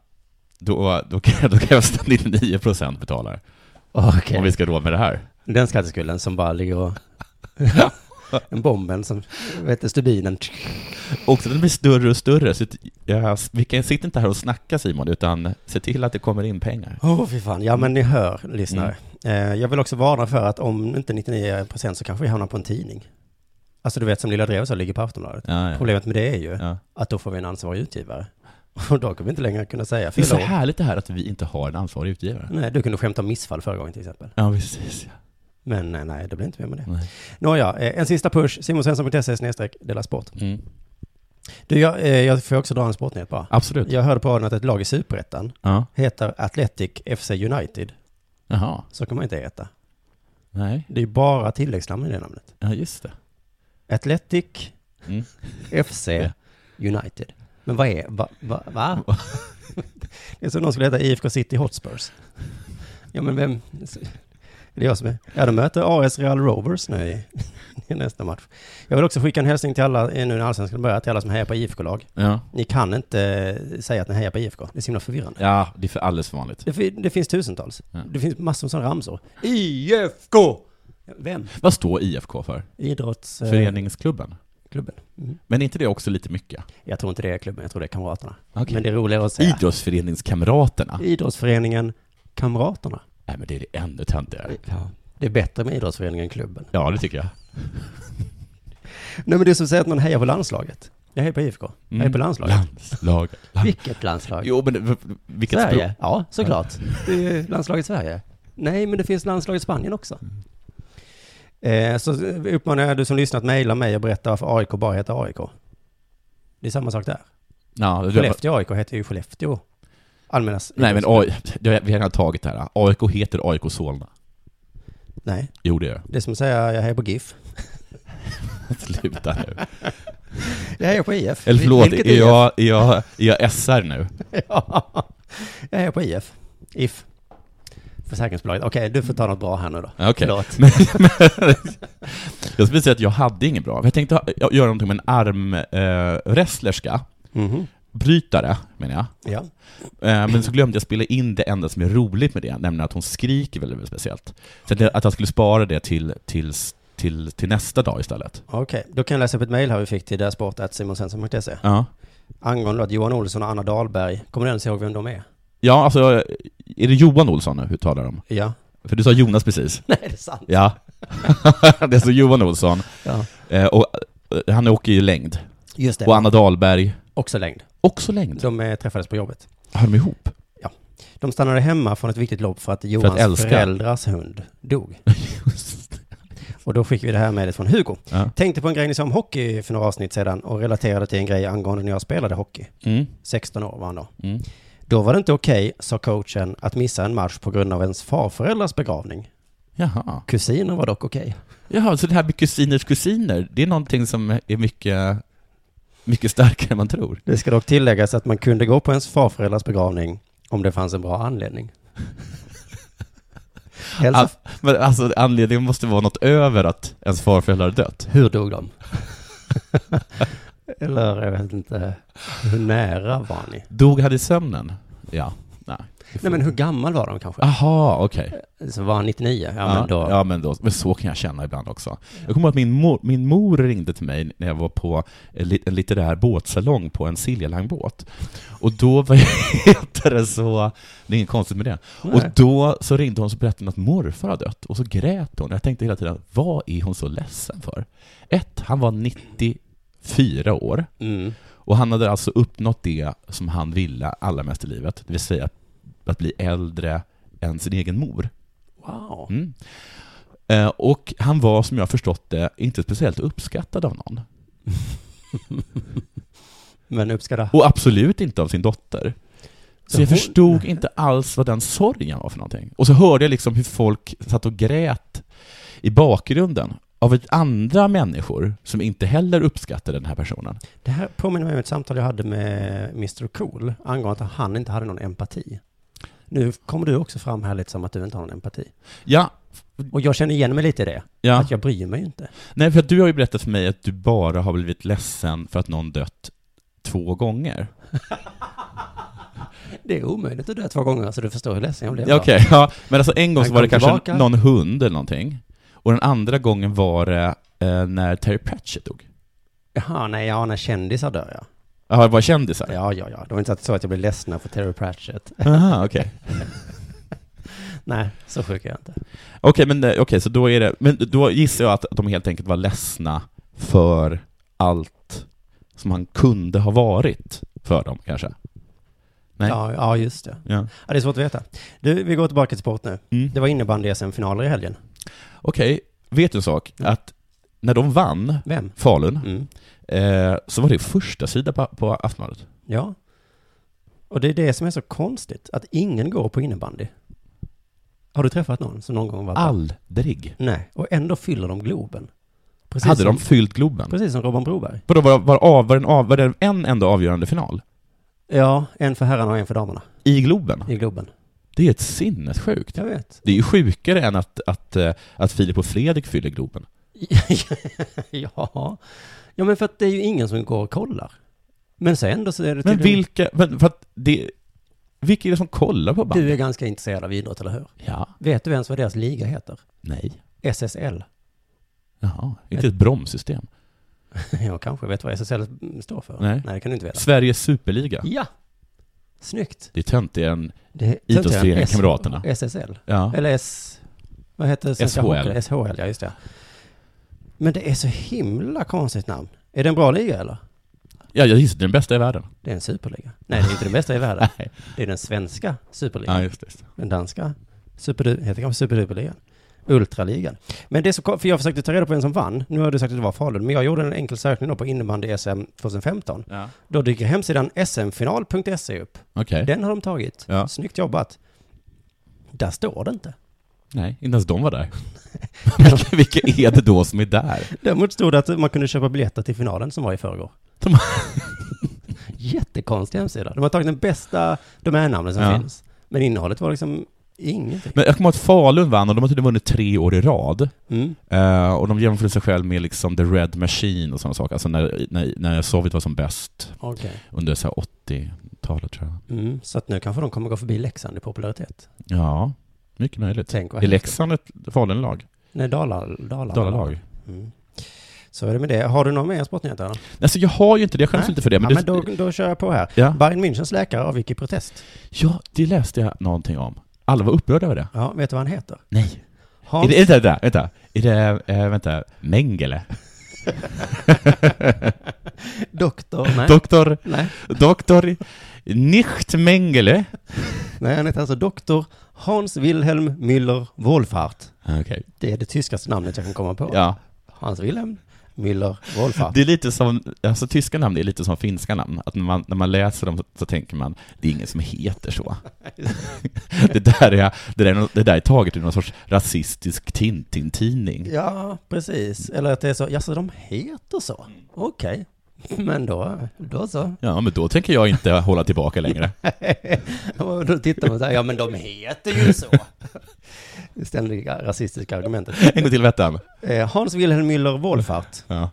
D: då, då, kan, jag- då krävs det 99% betalar.
C: Okej.
D: Om vi ska råd med det här.
C: Den skatteskulden som bara ligger och... en bomben som, vet du, stubinen.
D: Och så den blir större och större, så att jag, vi kan, sitter inte här och snacka Simon, utan se till att det kommer in pengar.
C: Åh, fy fan. Ja, men ni hör, lyssnare.
D: Mm.
C: Eh, jag vill också varna för att om inte 99 procent så kanske vi hamnar på en tidning. Alltså du vet som Lilla Drevet så ligger på Aftonbladet.
D: Ja, ja.
C: Problemet med det är ju
D: Ja.
C: att då får vi en ansvarig utgivare. Och då kommer vi inte längre kunna säga
D: Det är så
C: fylla år. Mm.
D: härligt det här att vi inte har en ansvarig utgivare.
C: Nej, du kunde skämta om missfall förra gången till exempel.
D: Ja, precis.
C: Men eh, nej, nej det blir inte mer med det.
D: Nej.
C: Nåja, eh, en sista push. Simonsvensson.se snedstreck dela sport.
D: Mm.
C: Du, jag, eh, jag får också dra en sportnyhet bara.
D: Absolut.
C: Jag hörde på radion att ett lag i Superettan
D: Ja.
C: heter Athletic FC United.
D: Jaha.
C: Så kan man inte heta.
D: Nej.
C: Det är bara tilläggsnamn i det namnet.
D: Ja, just det.
C: Athletic
D: Mm.
C: FC United. Men vad är, va, va, va? Det är som någon skulle heta IFK City Hotspurs. Ja men vem, det är jag som är, ja de möter AS Real Rovers nu i, i nästa match. Jag vill också skicka en hälsning till alla, eh, nu när allsvenskan börjar, till alla som hejar på IFK-lag.
D: Ja.
C: Ni kan inte eh, säga att ni hejar på IFK, det är så himla förvirrande.
D: ja, det är för alldeles för vanligt.
C: Det, fi- det finns tusentals.
D: Ja.
C: Det finns massor med sådana ramsor. IFK! Vem?
D: Vad står IFK för?
C: Idrottsklubben.
D: Föreningsklubben?
C: Mm.
D: Men är inte det också lite mycket?
C: Jag tror inte det är klubben, jag tror det är kamraterna.
D: Okej.
C: Men det är roligare att säga.
D: Idrottsföreningskamraterna?
C: Idrottsföreningen Kamraterna.
D: Nej, men det är det ännu töntigare.
C: Det är bättre med idrottsföreningen än klubben.
D: Ja, det tycker jag.
C: Nej men det är som att säga att man hejar på landslaget. Mm. Jag hejar på IFK. Jag hejar på landslaget.
D: Mm. Landslag. Land...
C: Vilket landslag?
D: Jo, men det- vilket
C: Sverige?
D: språk?
C: Ja, såklart. Det är ju landslaget Sverige. Nej, men det finns landslaget Spanien också. Eh, så uppmanar jag du som lyssnat, mejla mig och berätta varför AIK bara heter AIK. Det är samma sak där.
D: Ja, det-
C: Skellefteå AIK heter ju Skellefteå. Allmänna...
D: Nej, men AI... det har- vi har redan tagit det här. AIK heter AIK Solna.
C: Nej,
D: Jo, det gör
C: det är som att säga jag hejar på GIF.
D: det. Sluta nu.
C: Jag hejar på IF.
D: Eller förlåt,
C: Vilket
D: är jag, är, jag, är jag SR nu?
C: Ja, jag hejar på IF. IF. Försäkringsbolaget. Okej, du får ta något bra här nu då.
D: Okej.
C: Förlåt.
D: Jag skulle säga att jag hade inget bra. Jag tänkte ha- göra någonting med en armwrestlerska, eh, wrestlerska.
C: Mhm.
D: brytare, menar jag.
C: Ja.
D: Eh, Men så glömde jag spela in det enda som är roligt med det, nämligen att hon skriker väldigt, väldigt speciellt. Så att jag- att jag skulle spara det till, till, till, till nästa dag istället.
C: Okej, då kan jag läsa upp ett mejl här vi fick till därsport.simonsvensson.se
D: Ja,
C: angående att Johan Olsson och Anna Dahlberg, kommer du ens ihåg vem de är?
D: ja alltså, är det Johan Olsson nu du talar om?
C: Ja.
D: För du sa Jonas precis.
C: Nej, det är sant.
D: Ja. det är så Johan Olsson.
C: Ja.
D: Eh, Och eh, han åker ju längd.
C: Just det.
D: Och Anna Dahlberg,
C: Också längd.
D: också längd.
C: De eh, träffades på jobbet.
D: Hör de ihop?
C: De stannade hemma från ett viktigt lopp för att Johans
D: älska.
C: föräldrars hund dog. Och då skickade vi det här mejlet från Hugo.
D: Ja.
C: Tänkte på en grej ni sa om hockey för några avsnitt sedan och relaterade till en grej angående när jag spelade hockey.
D: Mm.
C: 16 år var han då.
D: Mm.
C: Då var det inte okej, sa coachen, att missa en match på grund av ens farföräldrars begravning.
D: Jaha.
C: Kusiner var dock okej.
D: Jaha, så det här med kusiners kusiner, det är någonting som är mycket, mycket starkare än man tror.
C: Det ska dock tilläggas att man kunde gå på ens farföräldrars begravning om det fanns en bra anledning. Hälsa,
D: Att, men alltså anledningen måste vara något över att ens farföräldrar har dött.
C: hur dog de? Eller jag vet inte, hur nära var ni?
D: Dog han i sömnen? Ja. Nej.
C: Nej men hur gammal var de kanske?
D: Jaha, okej.
C: Så var han 99? Ja, men då.
D: ja, men då. Men så kan jag känna ibland också. Jag kommer ihåg att min mor, min mor ringde till mig när jag var på en lit- en litterär båtsalong på en Siljalangbåt. Och då var heter det så, det är inget konstigt med det. Och då så ringde hon och så berättade hon att morfar har dött. Och så grät hon. Jag tänkte hela tiden, vad är hon så ledsen för? Ett, han var 94 år.
C: Mm.
D: Och han hade alltså uppnått det som han ville allra mest i livet, det vill säga att bli äldre än sin egen mor.
C: Wow.
D: Mm. Eh, Och han var, som jag har förstått det, inte speciellt uppskattad av någon.
C: Men uppskatta.
D: Och absolut inte av sin dotter. Så jag förstod inte alls vad den sorgen var för någonting. Och så hörde jag liksom hur folk satt och grät i bakgrunden av ett andra människor som inte heller uppskattade den här personen.
C: Det här påminner mig om ett samtal jag hade med Mr Cool angående att han inte hade någon empati. Nu kommer du också fram här lite som att du inte har någon empati.
D: Ja,
C: Och jag känner igen mig lite i det.
D: ja.
C: Att jag bryr mig ju inte.
D: Nej, för att du har ju berättat för mig att du bara har blivit ledsen för att någon dött två gånger.
C: Det är omöjligt att dö två gånger så du förstår hur ledsen jag blev.
D: Ja,
C: då.
D: Okej, ja. Men alltså en gång
C: Han
D: så var det
C: kom
D: kanske
C: tillbaka.
D: någon hund eller någonting. Och den andra gången var det eh, när Terry Pratchett dog.
C: Jaha, nej, ja, när kändisar dör ja.
D: Jaha, det var kändisar?
C: Ja, ja, ja. Det var inte så att jag blev ledsen för Terry Pratchett.
D: Aha, okej.
C: nej, så sjuk är jag inte.
D: Okej, men eh, okej, så då är det... Men då gissar jag att de helt enkelt var ledsna för allt som han kunde ha varit för dem, kanske. Nej.
C: Ja, ja, just det.
D: Ja.
C: Ja, det är svårt att veta. Du, vi går tillbaka till sport nu.
D: Mm.
C: Det var innebandy-SM-finaler i helgen.
D: Okej, vet du en sak? Att när de vann
C: Vem?
D: Falun,
C: Mm.
D: eh, så var det första sida på, på Aftonbladet.
C: Ja. Och det är det som är så konstigt, att ingen går på innebandy. Har du träffat någon som någon gång varit där?
D: Ah. Aldrig.
C: Nej, och ändå fyller de Globen. Precis
D: Hade
C: som,
D: de fyllt Globen?
C: Precis som Robban Broberg.
D: Vadå, var, var, av, var, den av, var det en enda avgörande final?
C: Ja, en för herrarna och en för damerna
D: I Globen?
C: i Globen.
D: Det är ett sinnessjukt.
C: Jag vet.
D: Det är ju sjukare än att, att, eh, att Filip och Fredrik fyller Globen.
C: ja. ja, men för att det är ju ingen som går och kollar. Men sen ändå så är det
D: Men
C: tydligen-
D: vilka, men för att det, vilka är det som kollar på bandy?
C: Du är ganska intresserad av idrott, eller hur?
D: Ja,
C: Vet du ens vad deras liga heter?
D: nej,
C: SSL.
D: jaha, inte ett bromssystem.
C: Jag kanske vet vad SSL står för.
D: Nej.
C: Nej det kan du inte veta.
D: Sveriges superliga.
C: Ja! Snyggt.
D: Det är töntigare än,
C: Det
D: Idrottsföreningen
C: S-
D: Kamraterna.
C: SSL.
D: ja.
C: Eller S... Vad heter det? Svenska
D: SHL.
C: Hockey- SHL, ja just det. Men det är så himla konstigt namn. Är det en bra liga eller?
D: ja, jag gissar det är den bästa i världen.
C: Det är en superliga. Nej, det är inte den bästa i världen.
D: Nej.
C: Det är den svenska superligan.
D: Ja, just det.
C: Den danska superdu- heter kanske superduperligan. Ultraligan. Men det är så kom- för jag försökte ta reda på vem som vann. Nu har du sagt att det var Falun, men jag gjorde en enkel sökning då på innebandy-SM 2015.
D: Ja.
C: Då dyker hemsidan smfinal.se E upp.
D: Okej,
C: Den har de tagit.
D: Eh. Ja.
C: Snyggt jobbat. Där står det inte.
D: nej, inte ens de var där. vilka, vilka är det då som är där?
C: Däremot stod det att man kunde köpa biljetter till finalen som var i förrgår.
D: De-
C: Jättekonstig hemsida. De har tagit den bästa domännamnen som
D: Ja.
C: finns. Men innehållet var liksom ingenting.
D: Men jag kommer ihåg att Falun vann och de har tydligen vunnit tre år i rad.
C: Mm.
D: Eh, och de jämförde sig själv med liksom The Red Machine och sådana saker, alltså när, när, när Sovjet var som bäst
C: Okej.
D: under så här 80-talet tror jag.
C: Mm. Så att nu kanske de kommer gå förbi Leksand i popularitet.
D: Ja, mycket möjligt.
C: Tänk vad
D: Är
C: häftigt.
D: Leksand ett Falunlag?
C: Nej, Dalar, Dalar,
D: Dalalag?
C: Mm. Så är det med det. Har du någon mer sportnyhet? eller?
D: Alltså jag har ju inte det, jag skäms
C: Nej.
D: lite för det. Men
C: ja,
D: det
C: men då, då kör jag på här.
D: Ja.
C: Bayern Münchens läkare avgick i protest.
D: ja, det läste jag någonting om. Alla var upprörda över det.
C: Ja, vet du vad han heter?
D: Nej.
C: Hans,
D: Är det, vänta, vänta, vänta. Är det, eh, vänta, Mengele?
C: doktor? Nej.
D: Doktor,
C: nej.
D: doktor Nicht Mengele?
C: nej, han heter alltså doktor Hans Wilhelm Müller Wohlfahrt.
D: Okej.
C: Det är det tyskaste namnet jag kan komma på.
D: Ja.
C: Hans Wilhelm Müller Wohlfahrt.
D: Det är lite som, alltså tyska namn är lite som finska namn, att när man, när man läser dem så, så tänker man, det är ingen som heter så. det, där är, det, där är, nå- det där är taget ur någon sorts rasistisk Tintin-tidning.
C: Ja, precis. Eller att det är så, ja, så de heter så? Okej. Men då, då så.
D: Ja, men då tänker jag inte hålla tillbaka längre.
C: Och då tittar man så här, ja men de heter ju så. Det ständiga rasistiska argumentet.
D: En gång till Vettan.
C: Eh, Hans Wilhelm Müller Wohlfahrt.
D: Ja.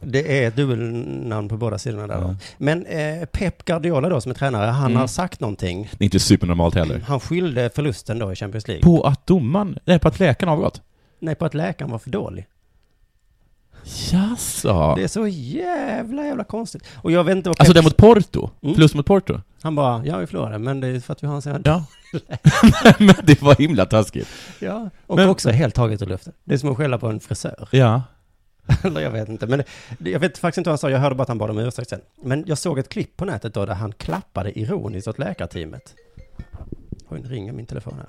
C: Det är ett dubbelnamn på båda sidorna där. då. Men eh, Pep Guardiola då som är tränare, han har sagt någonting.
D: Det är inte supernormalt heller.
C: Han skyllde förlusten då i Champions League.
D: På att domaren, nej på att läkaren avgått?
C: Nej, på att läkaren var för dålig.
D: Jaså?
C: Det är så jävla, jävla konstigt. Och jag vet inte vad Pep...
D: Alltså det mot Porto?
C: Mm.
D: Plus mot Porto?
C: Han bara, ja vi förlorade, men det är för att vi har en sån här...
D: Ja. men det var himla taskigt.
C: Ja. Och
D: Men-
C: också helt taget ur luften. Det är som att skälla på en frisör.
D: Ja.
C: Eller jag vet inte. Men det, jag vet faktiskt inte vad han sa. Jag hörde bara att han bad om ursäkt sen. Men jag såg ett klipp på nätet då där han klappade ironiskt åt läkarteamet. Oj, nu ringer min telefon här.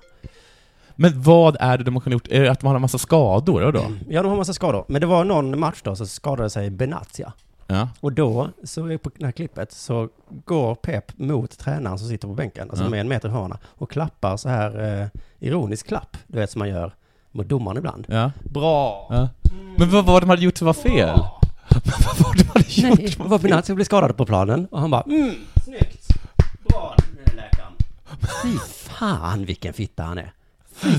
D: Men vad är det de har gjort? Är det att man har en massa skador? Eller då?
C: Ja, de har massa skador. Men det var någon match då så skadade sig Benatia.
D: Ja.
C: Och då, så är på det här klippet, så går Pep mot tränaren som sitter på bänken, alltså
D: Ja.
C: med en meter ifrån honom, och klappar så här eh, ironisk klapp, du vet som man gör mot domaren ibland.
D: Ja.
C: Bra!
D: Ja. Men vad var det de hade gjort som var fel? vad var det de hade gjort?
C: Nej, vad Benatia blev skadad på planen och han bara mm, snyggt! Bra läkaren! Fy fan vilken fitta han är!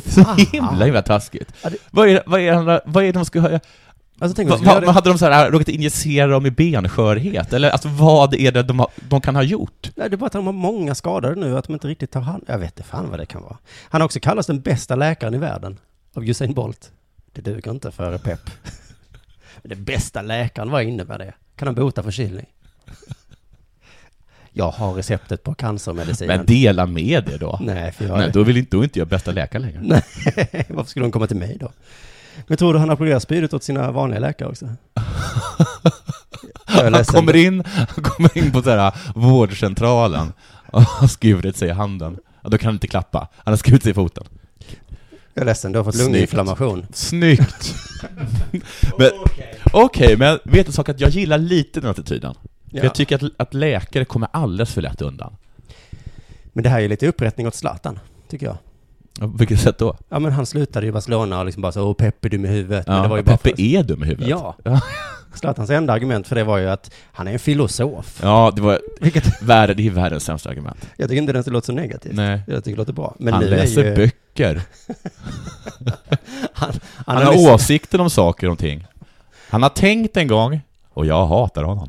D: Så himla, himla taskigt.
C: Ah. Ja, det-
D: Vad är, vad är, det- vad är det de skulle ha...
C: Alltså tänk om
D: Vad,
C: vi skulle
D: vad,
C: göra det...
D: hade de så här, äh, råkat injicera dem i benskörhet? Eller alltså, vad är det de, har, de kan ha gjort?
C: Nej, det är bara att de har många skadade nu, att de inte riktigt tar hand Jag vet inte fan vad det kan vara. Han har också kallats den bästa läkaren i världen av Usain Bolt. Det duger inte för Pep. Men den bästa läkaren, vad innebär det? Kan han bota förkylning? Jag har receptet på cancermedicinen.
D: Men dela med det då.
C: Nej, för jag...
D: Nej, då vill inte, då är inte jag bästa läkare längre.
C: Nej, varför skulle de komma till mig då? Men tror du han applåderar spydigt åt sina vanliga läkare också? Jag är
D: Han
C: ledsen.
D: kommer in, han kommer in på så här, äh, vårdcentralen. Ja, och har skurit sig i handen. Ja, då kan han inte klappa. Han har skurit sig i foten.
C: Jag är ledsen, du har fått
D: Snyggt.
C: lunginflammation.
D: Snyggt! men, Okej, men vet du en sak? Att jag gillar lite den attityden.
C: Ja.
D: För jag tycker att, att läkare kommer alldeles för lätt undan.
C: Men det här är ju lite upprättning åt Zlatan, tycker jag.
D: Ja, På vilket sätt då?
C: Ja men han slutade ju i Barcelona och liksom bara så, åh Peppe du med huvudet. men det var ju bara
D: Peppe
C: för-
D: är dum i huvudet.
C: Ja. Zlatans enda argument för det var ju att han är en filosof.
D: Ja, det var... Vilket... Värre, det är världens sämsta argument.
C: Jag tycker inte det låter så negativt.
D: Nej.
C: Jag tycker det låter bra. Men
D: han
C: nu
D: läser
C: är ju,
D: böcker.
C: Han, han,
D: Han
C: har
D: har
C: lyssnat,
D: åsikter om saker och ting. Han har tänkt en gång, och jag hatar honom.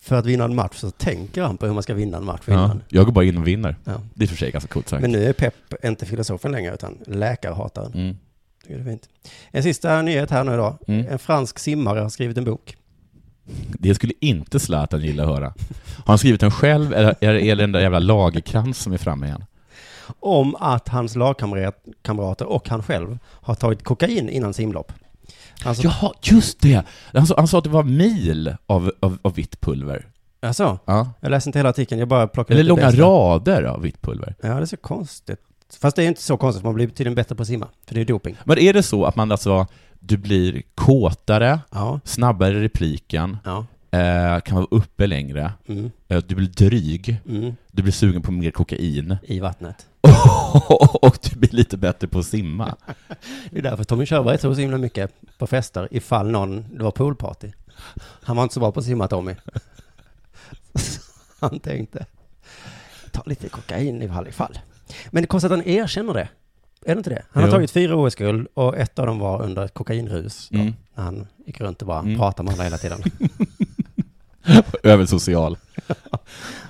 C: för att vinna en match så tänker han på hur man ska vinna en match
D: Ja,
C: innan.
D: jag går bara in och vinner.
C: Ja.
D: Det är i och för sig ganska coolt sagt.
C: Men nu är Pep inte filosofen längre utan läkarhataren.
D: Mm.
C: Tycker det är fint. En sista nyhet här nu då.
D: Mm.
C: En fransk simmare har skrivit en bok.
D: Det skulle inte Zlatan gilla att höra. Har han skrivit den själv, eller är det den där jävla lagerkrans som är framme igen?
C: Om att hans lagkamrater och han själv har tagit kokain innan simlopp. Alltså,
D: Jaha, just det! Han sa, han sa att det var mil av, av, av vitt pulver.
C: alltså,
D: Ja.
C: jag läste inte hela artikeln, jag bara plockade
D: Eller
C: ut det
D: långa
C: bästa.
D: rader av vitt pulver.
C: Ja, det är så konstigt. Fast det är inte så konstigt, man blir tydligen bättre på att simma. För det är doping.
D: Men är det så att man alltså, du blir kåtare,
C: Ja.
D: snabbare i repliken,
C: Ja.
D: eh, kan vara uppe längre,
C: Mm.
D: eh, du blir dryg,
C: Mm.
D: du blir sugen på mer kokain,
C: I vattnet.
D: och du blir lite bättre på att simma?
C: Det är därför Tommy Körberg tog så himla mycket på fester ifall någon, det var poolparty. Han var inte så bra på att simma Tommy. Han tänkte, ta lite kokain ifall ifall. Men det är konstigt att han erkänner det. Är det inte det? Han har
D: Jo.
C: tagit fyra OS-guld och ett av dem var under ett kokainrus. då,
D: Mm.
C: När han gick runt och bara
D: Mm.
C: pratade med alla hela tiden.
D: Översocial.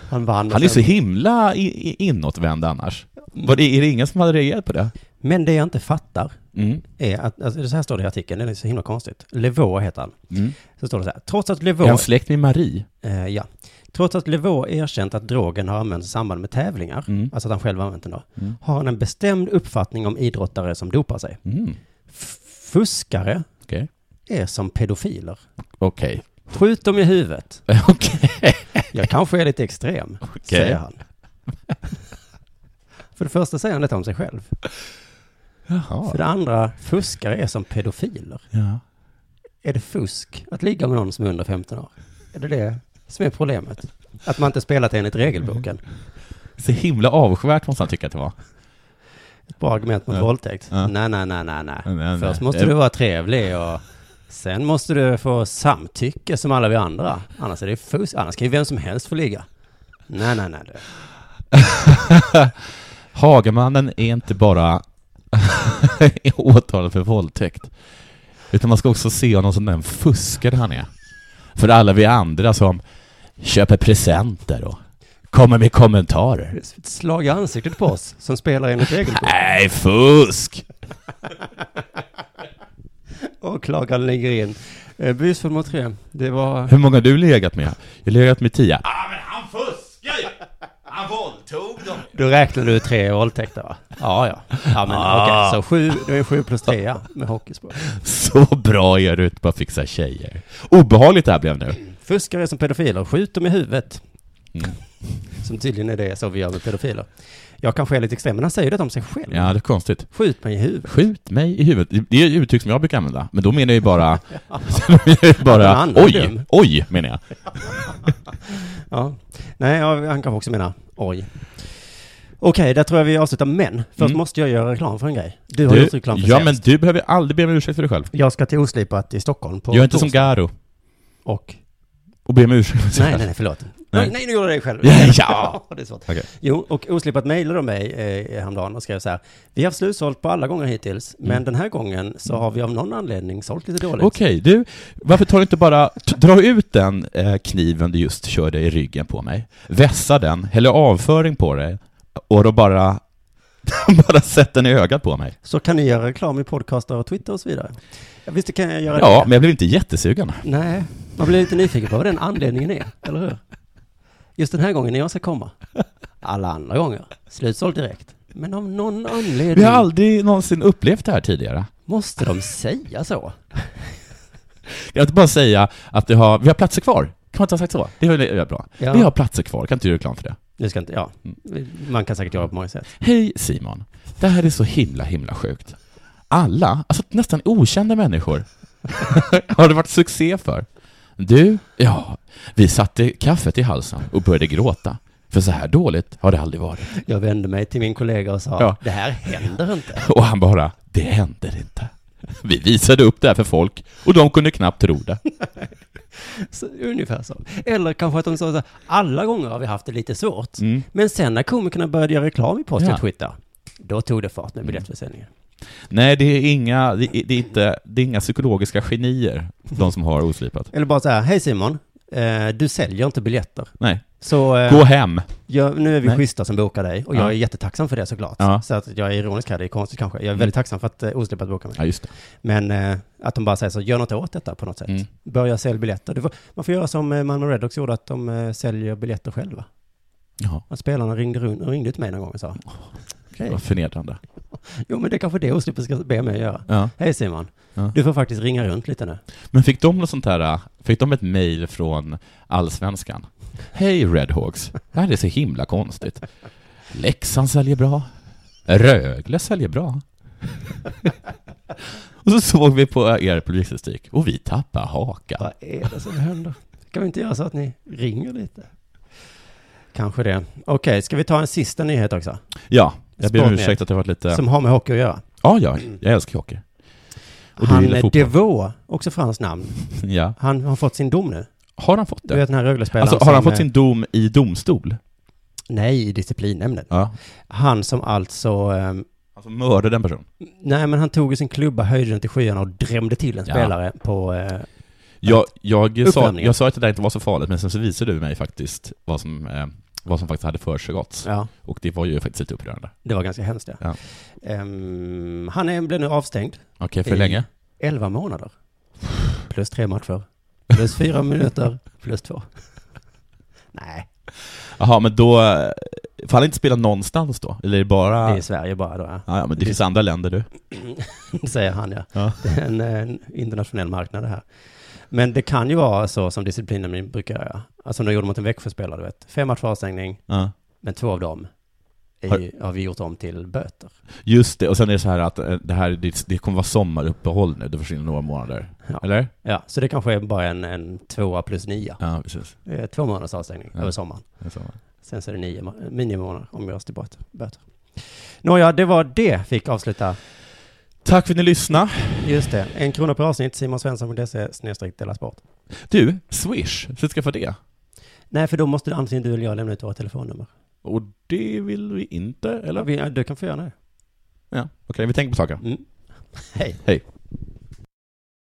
C: Han vann. och
D: Han är så
C: sen-
D: himla i- i- inåtvänd annars. Var det, är det ingen som hade reagerat på det?
C: Men det jag inte fattar
D: Mm.
C: är att, alltså, så här står det i artikeln, den är så himla konstigt. Levaux heter han.
D: Mm.
C: Så står det så här, trots att
D: Är
C: Levaux...
D: han släkt med Marie?
C: Eh, ja. Trots att Levaux erkänt att drogen har använts i samband med tävlingar,
D: Mm.
C: alltså att han själv har använt den då,
D: Mm.
C: har han en bestämd uppfattning om idrottare som dopar sig.
D: Mm.
C: F- fuskare
D: Okej.
C: är som pedofiler.
D: Okej.
C: Skjut dem i huvudet.
D: Okej.
C: Jag kanske är lite extrem, säger han. För det första säger han detta om sig själv.
D: Jaha.
C: För det andra, fuskare är som pedofiler.
D: Ja.
C: Är det fusk att ligga med någon som är under 15 år? Är det det som är problemet? Att man inte spelat enligt regelboken?
D: Så himla avskyvärt måste han tycka att det var.
C: Ett bra argument mot
D: Ja.
C: våldtäkt.
D: Ja.
C: Nej, nej, nej, nej, nej.
D: Nej, nej,
C: Först
D: nej.
C: måste
D: Det-
C: du vara trevlig och sen måste du få samtycke som alla vi andra. Annars är det fusk. Annars kan ju vem som helst få ligga. Nej, nej, nej. Du.
D: Hagamannen är inte bara åtalad för våldtäkt, utan man ska också se honom som den fuskare han är. För alla vi andra som köper presenter och kommer med kommentarer.
C: Det är ett slag i ansiktet på oss som spelar enligt regelboken.
D: Nej, fusk!
C: Åklagaren ligger in. Eh, Busfel mot tre. Det var...
D: Hur många har du legat med? Jag har legat med tio. Ah, men han fuskar ju! Han våldtog dem!
C: Då räknade du tre våldtäkter va? Ja, ja. Ja, men
D: Ah.
C: okej. Så sju, det är sju plus tre ja, med hockeyspråk.
D: Så bra är du inte på att fixa tjejer. Obehagligt det här blev nu.
C: Fuskare är som pedofiler, skjut dem i huvudet.
D: Mm.
C: Som tydligen är det så vi gör med pedofiler. Jag kanske är lite extrem, men han säger det om sig själv.
D: Ja, det är konstigt.
C: Skjut mig i huvudet.
D: Skjut mig i huvudet. Det är ett uttryck som jag brukar använda, men då menar jag ju bara... jag ju
C: Att en
D: bara
C: annan är
D: oj,
C: dum.
D: oj, menar jag.
C: Ja. Nej, ja, han kanske också menar oj. Okej, där tror jag vi avslutar, men först
D: Mm.
C: måste jag göra reklam för en grej. Du har gjort reklam för
D: ja, men
C: senast.
D: du behöver aldrig be om ursäkt för dig själv.
C: Jag ska till Oslipat i Stockholm på
D: Gör inte som
C: torsdag.
D: Garo
C: Och...
D: och be om ursäkt för dig
C: Nej,
D: själv.
C: nej, nej, förlåt. Nej,
D: Nej.
C: nej, nu gjorde jag det själv.
D: Ja, ja.
C: det är svårt.
D: Okej.
C: Jo, och oslippat mejlade de mig eh, häromdagen och skrev så här. Vi har haft slutsålt på alla gånger hittills, men den här gången så har vi av någon anledning sålt lite dåligt.
D: Mm. Okej, du, varför tar du inte bara, t- dra ut den eh, kniven du just körde i ryggen på mig, vässa den, häller avföring på dig, och då bara, bara sätt den i ögat på mig.
C: Så kan ni göra reklam i podcaster och Twitter och så vidare. Ja, visst, det kan jag göra
D: Ja,
C: det.
D: men jag blev inte jättesugen.
C: Nej, man blir lite nyfiken på vad den anledningen är, eller hur? Just den här gången när jag ska komma. Alla andra gånger. Slutsålt direkt. Men av någon anledning
D: Vi har aldrig någonsin upplevt det här tidigare.
C: måste de säga så.
D: Jag vill bara säga att vi har, vi har platser kvar. Kan man inte ha sagt så? Det är väl det är bra.
C: Ja.
D: Vi har platser kvar, kan inte du göra reklam för det?
C: Nu ska inte, ja.
D: Mm.
C: Man kan säkert göra på många sätt.
D: Hej Simon. Det här är så himla, himla sjukt. Alla, alltså nästan okända människor, har det varit succé för. Du, ja, vi satte kaffet i halsen och började gråta. För så här dåligt har det aldrig varit.
C: Jag vände mig till min kollega och sa,
D: Ja.
C: det här händer inte.
D: Och han bara, det händer inte. Vi visade upp det här för folk och de kunde knappt tro det.
C: Så, ungefär så. Eller kanske att de sa så här, alla gånger har vi haft det lite svårt.
D: Mm.
C: Men sen när komikerna började göra reklam i Post
D: Ja.
C: och Twitter, då tog det fart med biljettförsäljningen.
D: Nej, det är, inga, det, är, det, är inte, det är inga psykologiska genier, de som har oslipat.
C: Eller bara så här, hej Simon, eh, du säljer inte biljetter.
D: Nej,
C: Så eh,
D: gå hem.
C: jag, nu är vi
D: Nej.
C: schyssta som bokar dig och jag
D: Ja.
C: är jättetacksam för det såklart.
D: Ja.
C: Så att jag är ironisk här, det är konstigt kanske. Jag är väldigt tacksam för att eh, Oslipat bokar mig.
D: Ja, just det.
C: Men eh, att de bara säger så, gör något åt detta på något sätt.
D: Mm.
C: Börja sälja biljetter. Du får, man får göra som eh, Malmö Redhawks gjorde, att de eh, säljer biljetter själva.
D: Ja,
C: Att spelarna ringde, run- ringde till mig någon gång och sa,
D: det var förnedrande.
C: jo men det är kanske det Oslipat ska be mig att göra.
D: Ja.
C: Hej Simon,
D: Ja.
C: du får faktiskt ringa runt lite nu.
D: Men fick de något sånt här, fick de ett mejl från Allsvenskan? Hej Redhawks, det här är så himla konstigt. Leksand säljer bra. Rögle säljer bra. och så såg vi på er publikstatistik och vi tappade hakan.
C: Vad är det som händer? Kan vi inte göra så att ni ringer lite? Kanske det. Okej, ska vi ta en sista nyhet också?
D: Ja, jag ber om
C: Spången.
D: ursäkt att det varit lite...
C: Som har med hockey att göra.
D: Ja, ja, jag älskar hockey. Och du
C: han
D: gillar
C: eh,
D: fotboll.
C: Devaux, också franskt namn,
D: Ja.
C: han har fått sin dom nu.
D: Har han fått
C: Du
D: det?
C: vet den här Rögle-spelaren
D: Alltså, har han
C: som,
D: fått
C: eh,
D: sin dom i domstol?
C: Nej, i disciplinnämnden.
D: Ja.
C: Han som alltså... ehm,
D: Alltså mördade den personen?
C: nej, men han tog ju sin klubba, höjde den till skyarna och drämde till en
D: Ja.
C: spelare på... Eh,
D: Jag, jag, sa,
C: Uppvärmningen.
D: jag sa att det där inte var så farligt, men sen så visade du mig faktiskt vad som, eh, vad som faktiskt hade försiggått.
C: ja,
D: Och det var ju faktiskt lite upprörande.
C: det var ganska hemskt ja.
D: Ja.
C: Ehm, han är, blev nu avstängd.
D: Okej, för
C: I-
D: länge?
C: 11 månader. Plus tre matcher. Plus fyra minuter. Plus två. Nej,
D: Jaha, men då... eh, Får han inte spela någonstans då? Eller är det bara...
C: det är i Sverige bara då, ja.
D: Ja, ja, men det finns andra länder du.
C: säger han ja.
D: Ja.
C: Det är en, en internationell marknad det här. Men det kan ju vara så som disciplinen brukar göra. Alltså som de gjorde mot en Växjöspelare, du vet. Fem matchers avstängning,
D: Ja.
C: men två av dem är
D: Har-
C: ju, har vi gjort om till böter.
D: Just det, och sen är det så här att eh, det, här, det, det kommer vara sommaruppehåll nu, det försvinner några månader.
C: Ja.
D: Eller?
C: Ja, så det kanske är bara en, en tvåa plus nia.
D: Ja, precis.
C: Det är Två månaders avstängning
D: Ja.
C: över sommaren.
D: Det är sommar.
C: Sen så är det nio ma- minimimånader om vi görs till böter. böter. Nåja, det var det fick avsluta.
D: Tack för att ni lyssnade.
C: Just det, en krona per avsnitt, simonsvensson.se snedstreck dela sport.
D: Du, Swish, så ska få det.
C: Nej, för då måste antingen du eller jag lämna ut våra telefonnummer.
D: Och det vill vi inte, eller?
C: Vi- Du kan få göra det.
D: Ja, okej, vi tänker på saken.
C: Mm. Hej.
D: Hej.